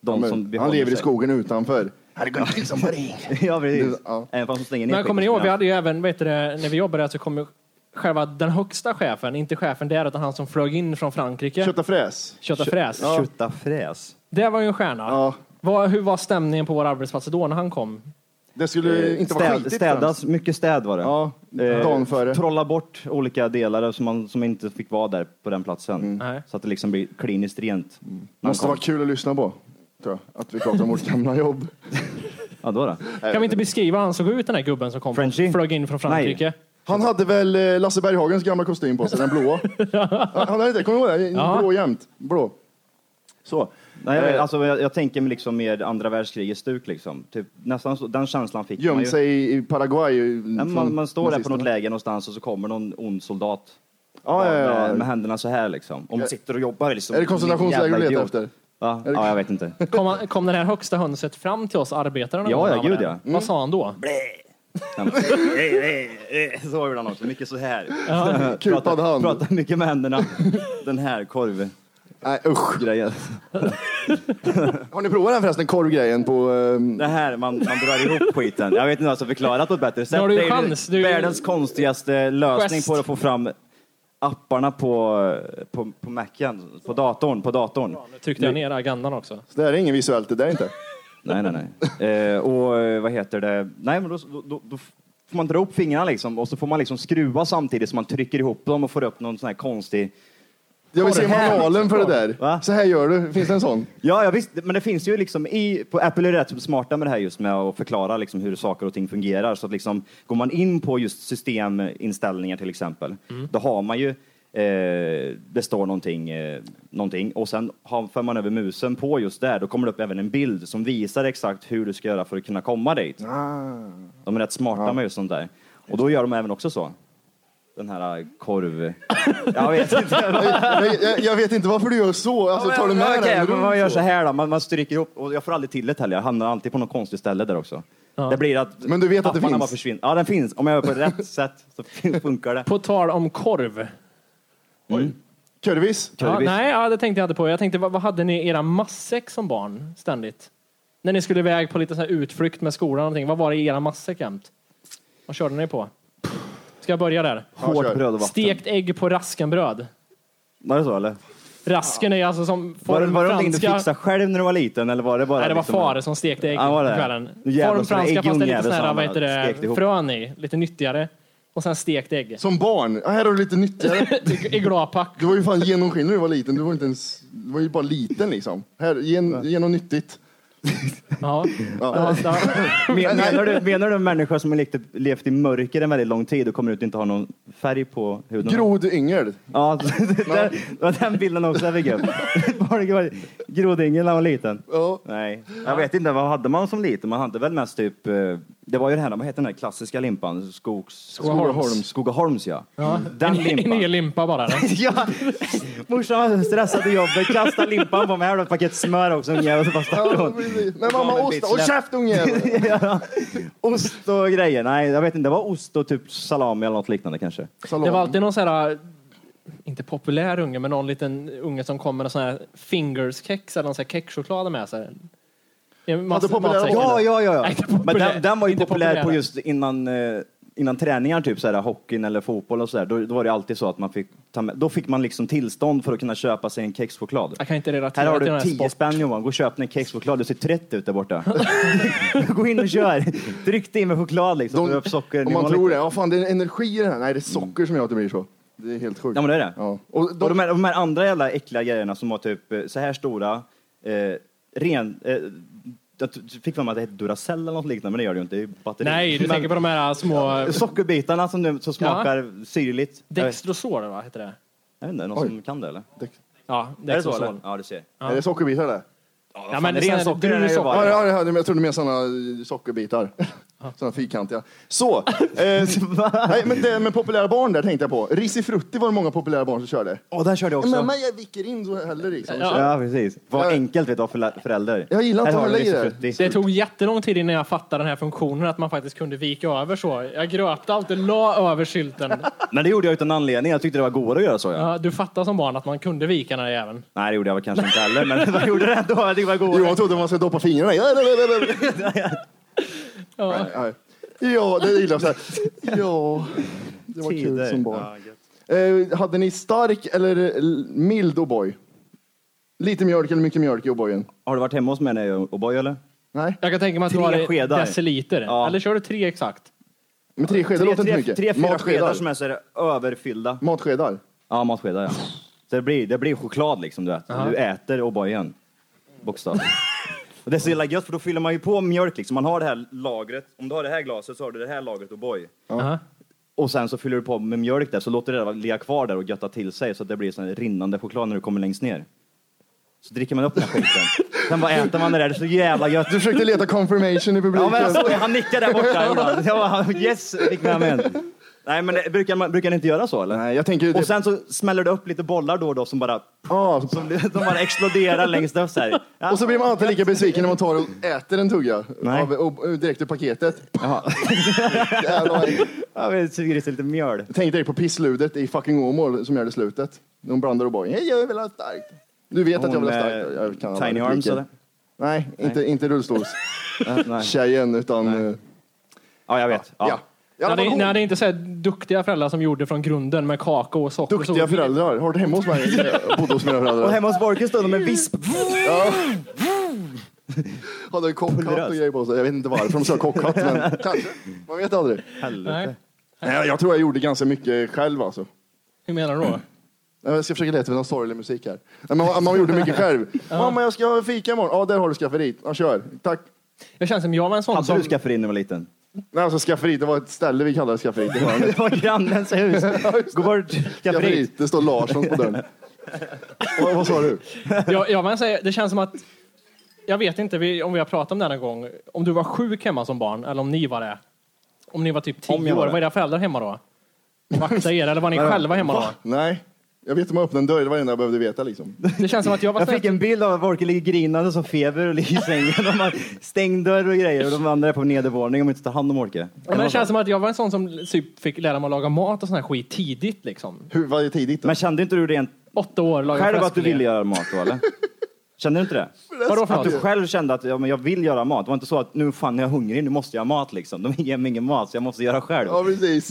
Speaker 6: De
Speaker 2: Men
Speaker 6: som
Speaker 2: han
Speaker 6: behåller
Speaker 2: lever i
Speaker 6: sig.
Speaker 2: skogen utanför. Här går till som
Speaker 6: ja, precis.
Speaker 2: Ja.
Speaker 6: Även fast de stänger ner
Speaker 3: Men jag kommer ni ihåg, vi
Speaker 6: skiten.
Speaker 3: hade ju även, vet du, det, när vi jobbade där så kom ju själva den högsta chefen, inte chefen där utan han som flög in från Frankrike.
Speaker 2: Kött och fräs.
Speaker 3: Kött och fräs.
Speaker 6: Tjutta fräs.
Speaker 3: Det var ju en stjärna.
Speaker 2: Ja.
Speaker 3: Vad- hur var stämningen på våra arbetsplatser då när han kom?
Speaker 2: Det skulle Eh, inte vara
Speaker 6: Eh, Städ,
Speaker 2: skitigt.
Speaker 6: städas, mycket städ var det.
Speaker 2: Ja,
Speaker 6: Eh,
Speaker 2: dagen före.
Speaker 6: Trolla bort olika delar som, man, som inte fick vara där på den platsen.
Speaker 2: Mm.
Speaker 3: Nej.
Speaker 6: Så att det liksom blir kliniskt rent. Man
Speaker 2: Måste
Speaker 6: kom-
Speaker 2: vara kul att lyssna på. Tror jag. Att vi pratar om vårt gamla jobb.
Speaker 6: Ja, då då.
Speaker 3: Kan vi inte beskriva hur han såg ut den här gubben som kom
Speaker 6: Frenchie?
Speaker 3: flög in från Frankrike?
Speaker 2: Han hade väl eh, Lasse Berghagens gamla kostym på sig, den blåa. Han hade inte, kommer du ihåg det?
Speaker 3: Ja.
Speaker 2: Blå jämt. Blå. Så. eh,
Speaker 6: Nej, jag, alltså, jag, jag tänker mig liksom mer andra världskrigets stuk. Liksom. Typ, nästan så, den känslan fick man
Speaker 2: Gömt
Speaker 6: ju.
Speaker 2: sig i- i Paraguay.
Speaker 6: Nej,
Speaker 2: från
Speaker 6: man, man står där på
Speaker 2: Mm. nazisterna.
Speaker 6: något läger någonstans och så kommer någon ond soldat
Speaker 2: Ja, ja, ja.
Speaker 6: Med, med händerna så här liksom. Och man sitter och jobbar liksom.
Speaker 2: Är det koncentrationsläger
Speaker 6: Jävla
Speaker 2: du letar
Speaker 6: idiot.
Speaker 2: efter?
Speaker 6: Va?
Speaker 2: det-
Speaker 6: Ja, jag vet inte.
Speaker 3: Kom, han, kom det här högsta hönset fram till oss arbetare? någon
Speaker 6: Ja,
Speaker 3: gång
Speaker 6: ja,
Speaker 3: när han var
Speaker 6: gud,
Speaker 3: där?
Speaker 6: ja. Mm.
Speaker 3: Vad sa han då?
Speaker 6: Eh, så gjorde han också, mycket så här.
Speaker 2: Kupad hand.
Speaker 6: Pratar mycket med händerna. Den här korvgrejen.
Speaker 2: Nej, usch. Har ni provat den förresten, korvgrejen på... ehm,
Speaker 6: Det här, man, man drar ihop skiten. Jag vet inte alltså förklara på ett bättre sätt.
Speaker 3: har du ju
Speaker 6: det är ju
Speaker 3: chans, du-
Speaker 6: världens konstigaste lösning
Speaker 3: Gest.
Speaker 6: på att få fram apparna på, på, på Macen, på datorn, på datorn.
Speaker 3: Nu tryckte jag ner agendan också.
Speaker 2: Det här är inget visuellt, det där inte.
Speaker 6: Nej, nej, nej. Eh, och eh, vad heter det? Nej, men då, då- då, då får man dra upp fingrarna liksom och så får man liksom skruva samtidigt som man trycker ihop dem och får upp någon sån här konstig.
Speaker 2: Jag vill se
Speaker 6: här?
Speaker 2: manualen för det där.
Speaker 6: Va?
Speaker 2: Så här gör du. Finns det en sån?
Speaker 6: Ja, ja visst, men det finns ju liksom i, på Apple är rätt så smarta med det här just med att förklara liksom hur saker och ting fungerar. Så att liksom, går man in på just systeminställningar till exempel, då har man ju Eh, det står någonting, eh, någonting och sen har, för man över musen på just där, då kommer det upp även en bild som visar exakt hur du ska göra för att kunna komma dit. De är rätt smarta med just sånt där. Och då gör de även också så. Den här eh, korv... Jag vet inte.
Speaker 2: Jag, jag, jag vet inte varför du gör så. Alltså, tar du med
Speaker 6: Okej,
Speaker 2: den?
Speaker 6: men man gör så här då, man, man stryker ihop och jag får aldrig till det heller. Jag hamnar alltid på något konstigt ställe där också. Det blir att
Speaker 2: Men du vet att det
Speaker 6: apparna
Speaker 2: finns?
Speaker 6: Bara försvinner. Ja, den finns. Om jag gör på rätt sätt så funkar det.
Speaker 3: På tal om korv.
Speaker 2: Kurvis?
Speaker 3: Ja,
Speaker 6: Körvis.
Speaker 3: nej, ja, det tänkte jag inte på. Jag tänkte, vad, vad hade ni i era matsäck som barn ständigt? När ni skulle iväg på lite så här utflykt med skolan och någonting. Vad var det i era matsäck jämt? Vad körde ni på? Ska jag börja där?
Speaker 2: Ja,
Speaker 6: Hårt
Speaker 2: kör.
Speaker 6: bröd och vatten.
Speaker 3: Stekt ägg på raskenbröd.
Speaker 6: Var det så eller?
Speaker 3: Rasken är alltså som
Speaker 6: Var det,
Speaker 3: form
Speaker 6: var det någonting du
Speaker 3: franska...
Speaker 6: fixade själv när du var liten eller var det bara
Speaker 3: nej, det var
Speaker 6: liksom-
Speaker 3: far som stekte ägg
Speaker 6: Ja, var
Speaker 3: på
Speaker 6: det?
Speaker 3: kvällen.
Speaker 6: Nu jävlar,
Speaker 3: Form
Speaker 6: så var det
Speaker 3: franska fast det är lite
Speaker 6: äggjungjävel
Speaker 3: sån här,
Speaker 6: som
Speaker 3: vad heter
Speaker 6: han stekte
Speaker 3: det,
Speaker 6: ihop.
Speaker 3: frön i. Lite nyttigare. Och sen stekt ägg.
Speaker 2: Som barn? Ja, här har du lite nyttigare.
Speaker 3: I glapack.
Speaker 2: Du var ju fan genomskinlig när du var liten. Du var, inte ens, du var ju bara liten liksom. Här, gen, genomnyttigt.
Speaker 3: Ja.
Speaker 2: Ja.
Speaker 3: Ja, ja.
Speaker 6: Men- Menar du, menar du en människa som har levt, levt i mörker en väldigt lång tid och kommer ut och inte har någon färg på huden?
Speaker 2: Grod yngel.
Speaker 6: Ja, det var den bilden också över gubb. Var det gro- Grodyngel när han var liten?
Speaker 2: Ja.
Speaker 6: Nej, jag vet inte. Vad hade man som liten? Man hade väl mest typ eh, Det var ju det här, vad hette den här klassiska limpan? Skogs...
Speaker 2: Skogaholms.
Speaker 6: Skogaholms, ja. Mm. Den
Speaker 3: en, en hel
Speaker 6: limpan.
Speaker 3: limpa bara. eller?
Speaker 6: ja, morsan var stressad till jobbet, kastade limpan på mig, jävla paket smör också, ungjävel, så bara stack
Speaker 2: Ja,
Speaker 6: hon.
Speaker 2: precis. Men
Speaker 6: Gav mig
Speaker 2: mamma
Speaker 6: en
Speaker 2: osta,
Speaker 6: bit
Speaker 2: och
Speaker 6: släp.
Speaker 2: käft ungjävel!
Speaker 6: Ja. Ost och grejer, nej jag vet inte, det var ost och typ salami eller något liknande kanske.
Speaker 3: Det var alltid någon sån här, inte populär unge, men någon liten unge som kom med någon sån här fingerskex eller någon sån här kexchoklad med sig. En massa-
Speaker 2: Hade populära
Speaker 3: matsäck.
Speaker 6: Alltså, Ja, ja, ja.
Speaker 3: Nej, inte
Speaker 6: ja. Men
Speaker 3: populär.
Speaker 6: den, den var ju
Speaker 3: Inte
Speaker 6: populär på
Speaker 3: populär.
Speaker 6: just innan, eh, innan träningar, typ så här, hockeyn eller fotboll och sådär. Då, då var det alltid så att man fick ta med, då fick man liksom tillstånd för att kunna köpa sig en kexchoklad.
Speaker 3: Jag kan inte relatera
Speaker 6: Här har
Speaker 3: till den
Speaker 6: du
Speaker 3: här
Speaker 6: 10
Speaker 3: sport.
Speaker 6: spänn Johan, gå och köp en kexchoklad. Du ser trött ut där borta. gå in och kör. Tryck dig in med choklad liksom.
Speaker 2: De-
Speaker 6: och upp socker,
Speaker 2: Om man tror det. Ja, fan, det är energi i det här. Nej, det är socker som gör att det blir så. Det är helt sjukt.
Speaker 6: Ja men det är det.
Speaker 2: Ja. Och de,
Speaker 6: Och de här, de här andra jävla äckliga grejerna som var typ eh, så här stora, eh, ren... Eh, jag t- fick för mig att det hette Duracell eller något liknande, men det gör det ju inte. Det är ju batteri.
Speaker 3: Nej, du
Speaker 6: men,
Speaker 3: tänker på de här små...
Speaker 6: Sockerbitarna som, nu, som smakar syrligt. Jag vet,
Speaker 3: Dextrosol, va? Heter det?
Speaker 6: jag vet inte, någon
Speaker 2: Oj.
Speaker 6: som kan det eller?
Speaker 3: Ja,
Speaker 6: Är det så? Eller?
Speaker 3: Dextrosol.
Speaker 6: Ja, du ser.
Speaker 2: Är det sockerbitar där?
Speaker 3: Ja, men
Speaker 6: Fan,
Speaker 3: det är
Speaker 6: ren
Speaker 3: sån här
Speaker 6: socker är det ju
Speaker 3: brun socker.
Speaker 6: bara.
Speaker 2: Ja, ja, ja, jag trodde mer sådana sockerbitar. Sådana fyrkantiga. Så! Eh, nej, men det med populära barn där tänkte jag på. Risifrutti var det många populära barn som körde.
Speaker 6: Åh, där körde jag också.
Speaker 2: Mamma, jag vicker in så häller i. Liksom.
Speaker 3: Ja.
Speaker 6: Ja, precis. Vad
Speaker 2: Ja.
Speaker 6: enkelt vet du för förälder.
Speaker 2: Jag gillar inte
Speaker 6: Här har
Speaker 2: att
Speaker 6: du
Speaker 2: hålla i det.
Speaker 6: Risifrutti.
Speaker 3: Det tog jättelång tid innan jag fattade den här funktionen, att man faktiskt kunde vika över så. Jag gröpte alltid, la över sylten.
Speaker 6: Men det gjorde jag utan anledning. Jag tyckte det var godare att göra så. Ja.
Speaker 3: Ja, du fattar som barn att man kunde vika den här jäveln.
Speaker 6: Nej, det gjorde jag väl kanske inte heller, men jag gjorde det ändå. Jag tyckte det var godare.
Speaker 2: Jag trodde man skulle doppa fingrarna i. Ja, ja, ja, ja, ja.
Speaker 3: Ja.
Speaker 2: Nej, nej. ja, det gillar jag. så här. Ja, det var kul
Speaker 6: Tider.
Speaker 2: som barn.
Speaker 6: Ja, gött.
Speaker 2: Eh, hade ni stark eller l- mild O'boy? Lite mjölk eller mycket mjölk i O'boyen?
Speaker 6: Har du varit hemma hos mig när jag O'boy eller?
Speaker 2: Nej,
Speaker 3: Jag kan tänka mig att du
Speaker 6: Tre
Speaker 3: har
Speaker 6: skedar.
Speaker 3: deciliter.
Speaker 6: Ja.
Speaker 3: Eller kör du tre exakt?
Speaker 2: men tre skedar låter inte
Speaker 6: tre,
Speaker 2: mycket.
Speaker 6: tre, fyra skedar
Speaker 2: Matskedar.
Speaker 6: som är så här överfyllda.
Speaker 2: Matskedar.
Speaker 6: Ja, matskedar ja. Så det, blir, det blir choklad liksom, du vet. Du äter O'boyen. Bokstavligen. och det är så jävla gött för då fyller man ju på mjölk liksom. Man har det här lagret. Om du har det här glaset så har du det här lagret O'boy.
Speaker 3: Aha.
Speaker 6: Och sen så fyller du på med mjölk där så låter det där ligga kvar där och götta till sig så att det blir sån här rinnande choklad när du kommer längst ner. Så dricker man upp den här skiten. Sen bara äter man det där, det är så jävla gött.
Speaker 2: Du försökte leta confirmation i
Speaker 6: Ja,
Speaker 2: publiken.
Speaker 6: men alltså- jag såg, han nickade där borta ibland. Jag bara, yes, fick med mig en. Nej, men det, brukar, man, brukar ni inte göra så eller?
Speaker 2: Nej, jag tänker ju... typ-
Speaker 6: Och
Speaker 2: Sen...
Speaker 6: sen så smäller det upp lite bollar då och då som bara,
Speaker 2: Ah,
Speaker 6: som, de bara exploderar längst upp så här. Ja.
Speaker 2: och så blir man alltid lika besviken när man tar och äter en tugga.
Speaker 6: Nej.
Speaker 2: Av, och, och direkt ur paketet.
Speaker 6: Jaha.
Speaker 2: Jävlar, vad äckligt.
Speaker 6: Ja, men det suger i sig lite mjöl.
Speaker 2: Tänk direkt på pissludet i fucking Åmål som gör det slutet. De blandar O'boyen. Hej, jag vill ha starkt. Du vet att jag vill ha
Speaker 6: Hon,
Speaker 2: starkt.
Speaker 6: eh,
Speaker 2: Jag kan alla
Speaker 6: Tiny
Speaker 2: repliker.
Speaker 6: Arms eller?
Speaker 2: Nej, inte, inte rullstolstjejen
Speaker 6: Ja, Nej.
Speaker 2: utan... eh,
Speaker 6: Ja, jag vet.
Speaker 2: Ja.
Speaker 6: Ja.
Speaker 2: I alla
Speaker 3: När
Speaker 2: fall
Speaker 3: det,
Speaker 2: hon.
Speaker 3: när det inte är så här duktiga föräldrar som gjorde från grunden med kakao och socker.
Speaker 2: Duktiga
Speaker 3: så,
Speaker 2: föräldrar. Har du hemma hos mig? Jag bodde hos mina
Speaker 6: Och
Speaker 2: föräldrar.
Speaker 6: hemma hos Borken stod de med visp.
Speaker 2: Hade kockhatt
Speaker 6: Pulverös.
Speaker 2: och grejer på sig. Jag vet inte varför de kör kockhatt, men kanske. Man vet aldrig.
Speaker 3: Nej.
Speaker 2: Nej, jag tror jag gjorde ganska mycket själv alltså.
Speaker 3: Hur menar du då?
Speaker 2: Jag ska försöka leta efter någon sorglig musik här. Nej, men man, man gjorde mycket själv. Mamma, jag ska ha fika imorgon. Ja, där har du skafferiet. Ja, kör. Tack.
Speaker 3: Jag känns som jag var en sån
Speaker 6: Hade du
Speaker 3: som...
Speaker 6: skafferi när du var liten?
Speaker 2: Nej, alltså skafferiet, det var ett ställe vi kallade skafferiet. Det var ett
Speaker 6: Det var grannens hus. Gå bort, skafferi.
Speaker 2: skafferiet. Det står Larsson på dörren. Vad, vad sa du?
Speaker 3: Jag, jag var en sån, det känns som att... Jag vet inte vi, om vi har pratat om det här någon gång. Om du var sjuk hemma som barn, eller om ni var det. Om ni var typ
Speaker 6: Om
Speaker 3: tio
Speaker 6: jag var
Speaker 3: år,
Speaker 6: det.
Speaker 3: var era föräldrar hemma då? Och Vaktade er, eller var ni själva hemma då?
Speaker 2: Nej. Jag vet hur man öppnar en dörr. Det var det enda jag behövde veta liksom.
Speaker 3: Det känns som att jag var
Speaker 6: Jag
Speaker 3: sån här
Speaker 6: fick en bild av att Borke ligger grinande som feber och ligger i sängen. De har stängd dörr och grejer och de andra är på nedervåningen om inte tar hand om Borke.
Speaker 3: Ja, Men det känns som att jag var en sån som typ fick lära mig att laga mat och sån här skit tidigt liksom.
Speaker 2: Hur, vad är tidigt då?
Speaker 6: Men kände inte du rent
Speaker 3: Åtta år laga
Speaker 6: själv att du
Speaker 3: fläskfilé.
Speaker 6: ville göra mat då eller? Kände du inte det?
Speaker 3: Vadå för
Speaker 6: Att du
Speaker 3: något?
Speaker 6: själv kände att ja, men jag vill göra mat. Det var inte så att nu fan jag är hungrig, nu måste jag ha mat liksom. De ger mig ingen mat så jag måste göra själv.
Speaker 2: Ja, precis.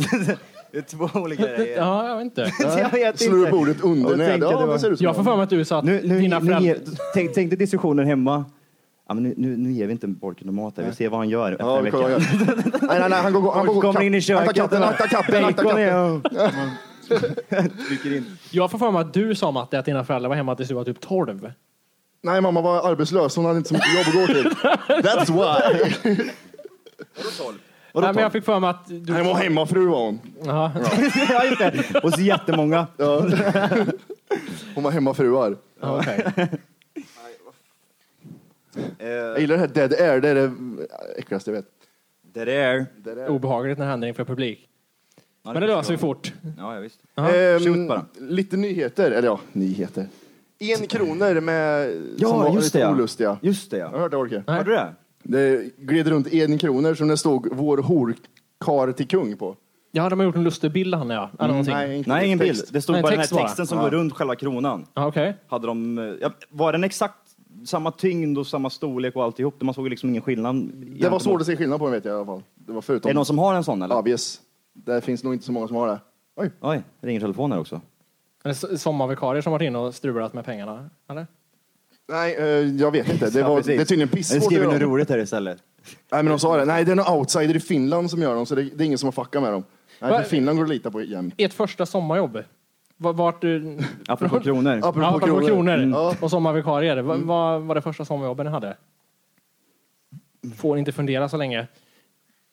Speaker 6: Det är två olika grejer.
Speaker 3: Ja, jag vet inte.
Speaker 6: Jag vet
Speaker 2: Slår
Speaker 6: inte.
Speaker 2: upp ordet
Speaker 6: Och
Speaker 2: undernäd.
Speaker 6: tänkte
Speaker 2: Ja,
Speaker 6: det var-
Speaker 2: det ser ut som
Speaker 3: Jag får för mig att du sa att
Speaker 6: Nu, nu,
Speaker 3: dina
Speaker 6: nu,
Speaker 3: föräldrar...
Speaker 6: ge- tänk, tänk dig diskussionen hemma. Ja, men nu, nu, nu ger vi inte Borken och mat här. Vi ser vad han gör efter
Speaker 2: Ja,
Speaker 6: en
Speaker 2: vi
Speaker 6: vecka.
Speaker 2: kollar. Nej, nej, nej, han går, han går,
Speaker 6: Folk kommer
Speaker 2: kapp-
Speaker 6: in i köket.
Speaker 2: Akta katten,
Speaker 6: och-
Speaker 2: akta katten, akta
Speaker 6: Bacon
Speaker 2: katten.
Speaker 6: är- Trycker in.
Speaker 3: Jag får för mig att du sa Matte att dina föräldrar var hemma tills du var typ 12.
Speaker 2: Nej, mamma var arbetslös. Hon hade inte så mycket jobb att gå till. That's why.
Speaker 3: Nej, men jag fick för mig att du...
Speaker 2: Nej, hon var hemmafru var hon.
Speaker 3: Ja.
Speaker 6: Ja, just det. Och så jättemånga.
Speaker 2: Ja. Hon var hemmafruar.
Speaker 3: Ja, okej.
Speaker 2: Jag gillar det här Dead Air. Det är det äckligaste jag vet.
Speaker 6: Det där.
Speaker 2: Det där.
Speaker 3: Obehagligt när det händer inför publik.
Speaker 6: Ja,
Speaker 3: Men det löser vi fort.
Speaker 6: Ja, ja, visst.
Speaker 2: Ehm,
Speaker 6: shoot bara.
Speaker 2: lite nyheter, eller ja, nyheter. En kronor med, som var lite olustiga.
Speaker 6: Just det,
Speaker 2: Har du
Speaker 6: ja.
Speaker 2: hört det Orke?
Speaker 6: Hörde du det?
Speaker 2: Det gled runt en kronor som det stod vår horkar till kung på.
Speaker 3: Ja, de har gjort en lustig bild han ja. Eller någonting.
Speaker 2: Mm, Nej, inte
Speaker 6: Nej, ingen
Speaker 2: text.
Speaker 6: bild. Det stod
Speaker 3: Nej,
Speaker 6: bara den här
Speaker 3: text bara.
Speaker 6: texten som går runt själva kronan.
Speaker 3: Ja, okej.
Speaker 6: Hade de, eh, ja, var den exakt samma tyngd och samma storlek och alltihop? Man såg ju liksom ingen skillnad.
Speaker 2: Det var svårt att se skillnad på den vet jag i alla fall. Det var
Speaker 6: Är
Speaker 2: förutom...
Speaker 6: det någon som har en sån eller?
Speaker 2: Obvious. Det finns nog inte så många som har det. Oj.
Speaker 6: Oj, ringer telefonen här också.
Speaker 3: Men det är Sommarvikarier som varit inne och strulat med pengarna. Eller?
Speaker 2: Nej, eh, jag vet inte. Det,
Speaker 6: Ja,
Speaker 2: var, det
Speaker 6: precis.
Speaker 2: är tydligen
Speaker 6: Nu
Speaker 2: pissvårt att
Speaker 6: skriver
Speaker 2: göra
Speaker 6: något
Speaker 2: dem.
Speaker 6: roligt här istället.
Speaker 2: Nej, men de sa det. Nej, det är någon outsider i Finland som gör dem, så det, det är ingen som har fuckat med dem. Nej,
Speaker 3: Va-
Speaker 2: för Finland går att lita på jämt.
Speaker 3: Ert första sommarjobb. Va- Vart du...
Speaker 6: Apropå kronor.
Speaker 2: Apropå
Speaker 3: Ja, apropå
Speaker 2: kronor.
Speaker 3: kronor,
Speaker 2: Mm. Ja.
Speaker 3: och sommarvikarier. Va- Vad var det första sommarjobben ni hade? Får inte fundera så länge.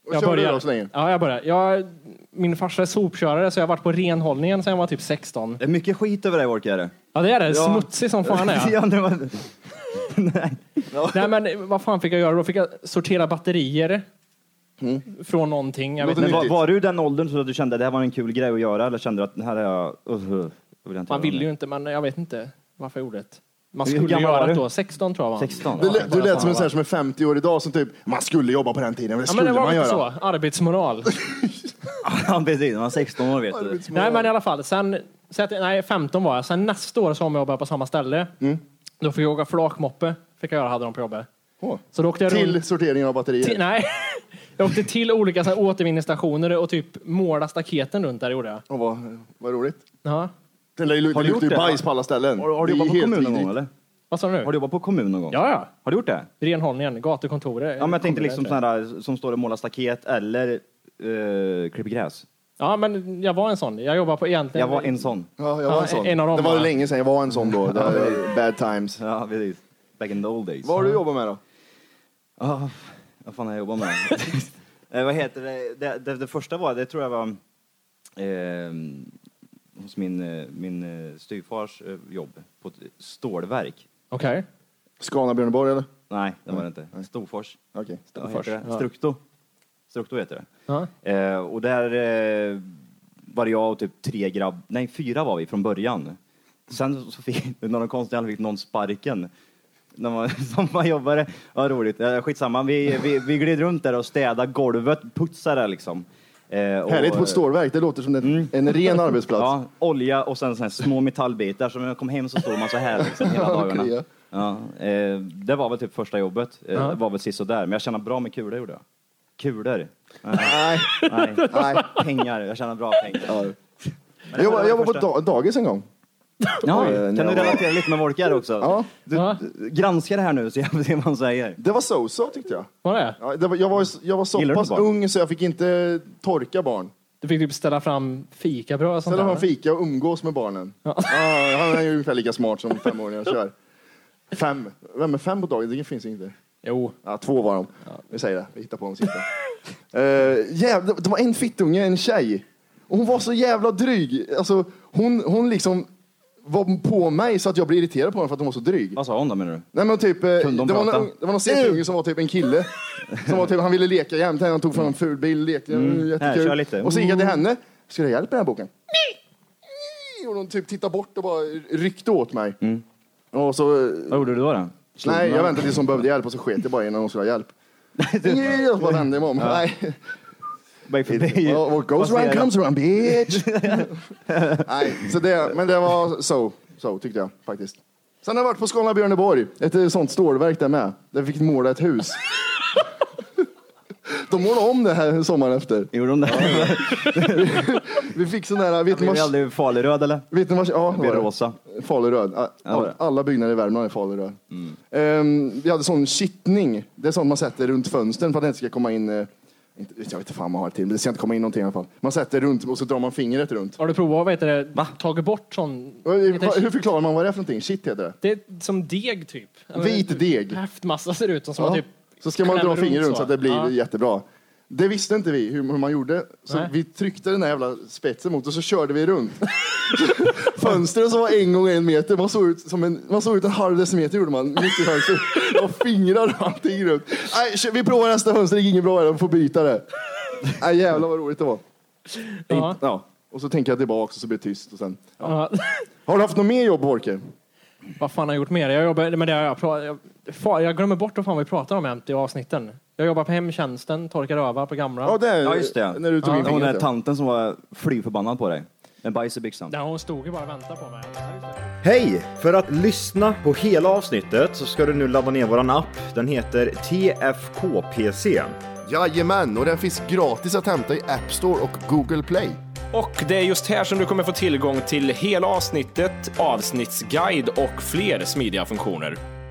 Speaker 2: Och körde du då så länge?
Speaker 3: Ja, jag börjar. Jag, min farsa är sopkörare så jag har varit på renhållningen sedan jag var typ 16.
Speaker 6: Det är mycket skit över dig Wolke är det.
Speaker 3: Ja, det är det.
Speaker 6: Ja.
Speaker 3: Smutsig som fan är jag.
Speaker 6: ja, det var...
Speaker 3: Nej, men vad fan fick jag göra då? Fick jag sortera batterier från någonting. Jag vet
Speaker 2: Låter
Speaker 6: Men
Speaker 3: inte.
Speaker 6: var,
Speaker 2: Nyttigt.
Speaker 6: var du i den åldern så att du kände att det här var en kul grej att göra eller kände du att det här är jag... Uh, uh, vill jag
Speaker 3: Man
Speaker 6: inte göra
Speaker 3: ville ju
Speaker 6: mer?
Speaker 3: inte, men jag vet inte varför jag gjorde det. Man
Speaker 6: Hur
Speaker 3: skulle
Speaker 6: gammal var
Speaker 3: göra det
Speaker 6: du?
Speaker 3: då. 16 tror jag var.
Speaker 6: 16?
Speaker 2: Du, lät- du
Speaker 3: bara
Speaker 2: lät som
Speaker 3: samma,
Speaker 2: en sån här som är 50 år idag som typ, man skulle jobba på den tiden, men det
Speaker 3: Ja, men
Speaker 2: skulle
Speaker 3: det var
Speaker 2: man
Speaker 3: lite
Speaker 2: göra.
Speaker 3: så. Arbetsmoral.
Speaker 6: Ja, precis. Man var 16 år vet du.
Speaker 3: Nej, men i alla fall. Sen, säg att- nej, 15 var jag. Sen nästa år så om jag på samma ställe. Då fick jag åka flakmoppe. Fick jag göra, hade de på jobbet.
Speaker 2: Åh.
Speaker 3: Så då åkte jag
Speaker 2: Till
Speaker 3: runt.
Speaker 2: sorteringen av batterier.
Speaker 3: Till, nej. Jag åkte till olika så här, återvinningsstationer och typ måla staketen runt där gjorde jag.
Speaker 2: Åh, vad, vad roligt.
Speaker 3: Ja.
Speaker 2: Det lär ju lu-
Speaker 6: Har
Speaker 2: det
Speaker 6: du
Speaker 2: luktar ju
Speaker 6: gjort det?
Speaker 2: bajs på alla ställen.
Speaker 6: Har, har du
Speaker 2: Det är
Speaker 6: jobbat på
Speaker 2: helt
Speaker 6: kommun någon
Speaker 2: vidrigt.
Speaker 6: gång eller?
Speaker 3: Vad sa du nu?
Speaker 6: Har du jobbat på kommun någon gång?
Speaker 3: Ja, ja.
Speaker 6: Har du gjort det?
Speaker 3: Renhållningen, gatukontoret.
Speaker 6: Ja, men jag tänkte
Speaker 3: Kommer
Speaker 6: liksom
Speaker 3: det inte.
Speaker 6: sådana där som står och målar staket eller eh, klipper gräs.
Speaker 3: Ja, men jag var en sån. Jag jobbade på egentligen...
Speaker 6: Jag var en sån.
Speaker 2: Ja, jag var
Speaker 3: Ja,
Speaker 2: en sån.
Speaker 3: en av dem
Speaker 2: det var
Speaker 3: var-
Speaker 2: länge sedan jag var en sån då. Det var bad times.
Speaker 6: Ja, precis. Back in the old days.
Speaker 2: Vad har du jobbat med då?
Speaker 6: Ah, vad fan har jag jobbat med? eh, vad heter det? Det, det? det första var, det tror jag var eh, hos min, eh, min eh, styvfars eh, jobb på ett stålverk.
Speaker 3: Okej.
Speaker 2: Skåne Björneborg eller?
Speaker 6: Nej, det var det inte. Storfors.
Speaker 2: Okej.
Speaker 6: Vad heter det?
Speaker 3: ja.
Speaker 6: Strukto. Strukto heter det.
Speaker 3: Ja.
Speaker 6: Eh, och där eh, var jag och typ tre grabb, nej fyra var vi från början. Sen så fick, när de konstiga anledning fick någon sparken. När man, som man jobbade. Ja, roligt. Eh, skitsamma, vi, vi, vi gled runt där och städade golvet, putsade det liksom. Eh, och-
Speaker 2: Härligt på ett stålverk. Det låter som en, en ren arbetsplats.
Speaker 6: Mm. Ja, olja och sen såna här små metallbitar. Så när jag kom hem så stod man så här liksom, hela
Speaker 2: Ja,
Speaker 6: dagarna.
Speaker 2: okej,
Speaker 6: Ja, eh, det var väl typ första jobbet. Eh,
Speaker 3: Ja.
Speaker 6: Det var väl sisådär. Men jag tjänade bra med kulor gjorde jag. Kulor?
Speaker 2: Nej.
Speaker 6: Nej.
Speaker 2: Nej.
Speaker 6: pengar. Jag tjänade bra pengar.
Speaker 2: Ja. Jag jobbade, jag jobbade på da-
Speaker 6: första.
Speaker 2: dagis en gång.
Speaker 6: Ja,
Speaker 2: Eh,
Speaker 6: kan
Speaker 2: när
Speaker 6: du
Speaker 2: jag var-
Speaker 6: relatera lite med Wolkar också?
Speaker 2: Ja.
Speaker 6: Du,
Speaker 3: Ja.
Speaker 6: du- Granska det här nu så jag får se vad han säger.
Speaker 2: Det var so-so tyckte jag.
Speaker 3: Var det?
Speaker 2: Ja, det var, jag, var, jag var
Speaker 6: Gillar
Speaker 2: så
Speaker 6: du
Speaker 2: pass
Speaker 6: barn?
Speaker 2: ung så jag fick inte torka barn.
Speaker 3: Du fick typ ställa fram fikabröd och sånt
Speaker 2: Ställa fram
Speaker 3: där, va?
Speaker 2: fika och umgås med barnen. Ja. han är ju ungefär lika smart som femåringar kör. Fem. Vem är fem på dagis? Det finns inte.
Speaker 3: Jo.
Speaker 2: Ja, två var de. Vi säger det. Vi hittar på en sista. uh, jävla, det var en fittunge, en tjej. Och hon var så jävla dryg. Alltså, hon, hon liksom var på mig så att jag blev irriterad på henne för att hon var så dryg.
Speaker 6: Vad sa hon då menar du?
Speaker 2: Nej men typ, eh, det
Speaker 6: de
Speaker 2: var,
Speaker 6: prata?
Speaker 2: någon, det var någon fet unge som var typ en kille. Som var typ, han ville leka jämt, han tog fram en ful bil, lekte, mm.
Speaker 6: Här,
Speaker 2: jättekul.
Speaker 6: kör lite. Mm.
Speaker 2: Och så gick jag till henne, ska du ha hjälp med den här boken? Nej! Och hon typ tittade bort och bara ryckte åt mig.
Speaker 6: Mm.
Speaker 2: Och så, eh,
Speaker 6: Vad gjorde du då? då?
Speaker 2: nej jag väntade tills hon behövde hjälp och så sket jag bara innan hon skulle ha hjälp. Nej, jag bara vände mig om. Nej.
Speaker 6: Bara förbi.
Speaker 2: Well, what goes around comes around bitch. nej, så det, men det var så, så tyckte jag faktiskt. Sen har jag varit på Skåne Björneborg, ett eh, sånt stålverk där med. Där vi fick måla ett hus. De målade om det här sommaren efter.
Speaker 6: Gjorde hon det?
Speaker 2: Vi fick sån där, vet ni
Speaker 6: Blev det
Speaker 2: vad...
Speaker 6: aldrig faluröd eller?
Speaker 2: Vet ni vad ja,
Speaker 6: Blev
Speaker 2: det var det.
Speaker 6: rosa.
Speaker 2: Faluröd. A-
Speaker 6: Ja, det var det. Mm.
Speaker 2: Alla byggnader i Värmland är faluröd. Ehm, vi hade sån kittning. Det är sånt man sätter runt fönstren för att det inte ska komma in... eh, Inte, jag vet inte fan vad man har det till, men det ska inte komma in någonting i alla fall. Man sätter runt och så drar man fingret runt.
Speaker 3: Har du provat vad heter det, tagit bort sån...
Speaker 2: Och, eh,
Speaker 3: Heter-
Speaker 2: Hur förklarar man vad det är för någonting? Shit heter det.
Speaker 3: Det är som deg typ.
Speaker 2: Vit deg.
Speaker 3: Häftmassa ser det ut som. som
Speaker 2: Ja.
Speaker 3: man typ
Speaker 2: Så ska man
Speaker 3: klämmer
Speaker 2: dra fingret runt så att det blir
Speaker 3: Ja.
Speaker 2: jättebra. Det visste inte vi hur, hur man gjorde. Så
Speaker 3: Nej.
Speaker 2: vi tryckte den här jävla spetsen mot och så körde vi runt. Fönstren som var en gång en meter, man såg ut, som en, man såg ut en halv decimeter gjorde man. Mitt i fönstret. Och fingrar och allting runt. Nej, kö- vi provar nästa fönster, det gick inget bra här, de får byta det. Nej, jävlar vad roligt det var.
Speaker 3: Ja.
Speaker 6: Ja.
Speaker 2: Och så tänker jag tillbaka och så blir det tyst. Och sen.
Speaker 3: Ja.
Speaker 2: Har du haft något mer jobb Wolke?
Speaker 3: Vad fan har jag gjort mer? Jag, jobbar, men det har jag, pra- jag, fan, jag glömmer bort vad fan vi pratar om jämt i avsnitten. Jag jobbar på hemtjänsten, torkar rövar på gamla.
Speaker 2: Ja, det är,
Speaker 6: Ja, just det.
Speaker 2: När du tog
Speaker 6: ja.
Speaker 2: in
Speaker 6: Hon
Speaker 2: fingret.
Speaker 6: där
Speaker 2: ja.
Speaker 6: tanten som var fly förbannad på dig. Med bajs i byxan.
Speaker 3: Där hon stod ju bara och väntade på mig.
Speaker 5: Hej! För att lyssna på hela avsnittet så ska du nu ladda ner våran app. Den heter TFKPC.
Speaker 4: Jajamän, och den finns gratis att hämta i App Store och Google Play.
Speaker 7: Och det är just här som du kommer få tillgång till hela avsnittet, avsnittsguide och fler smidiga funktioner.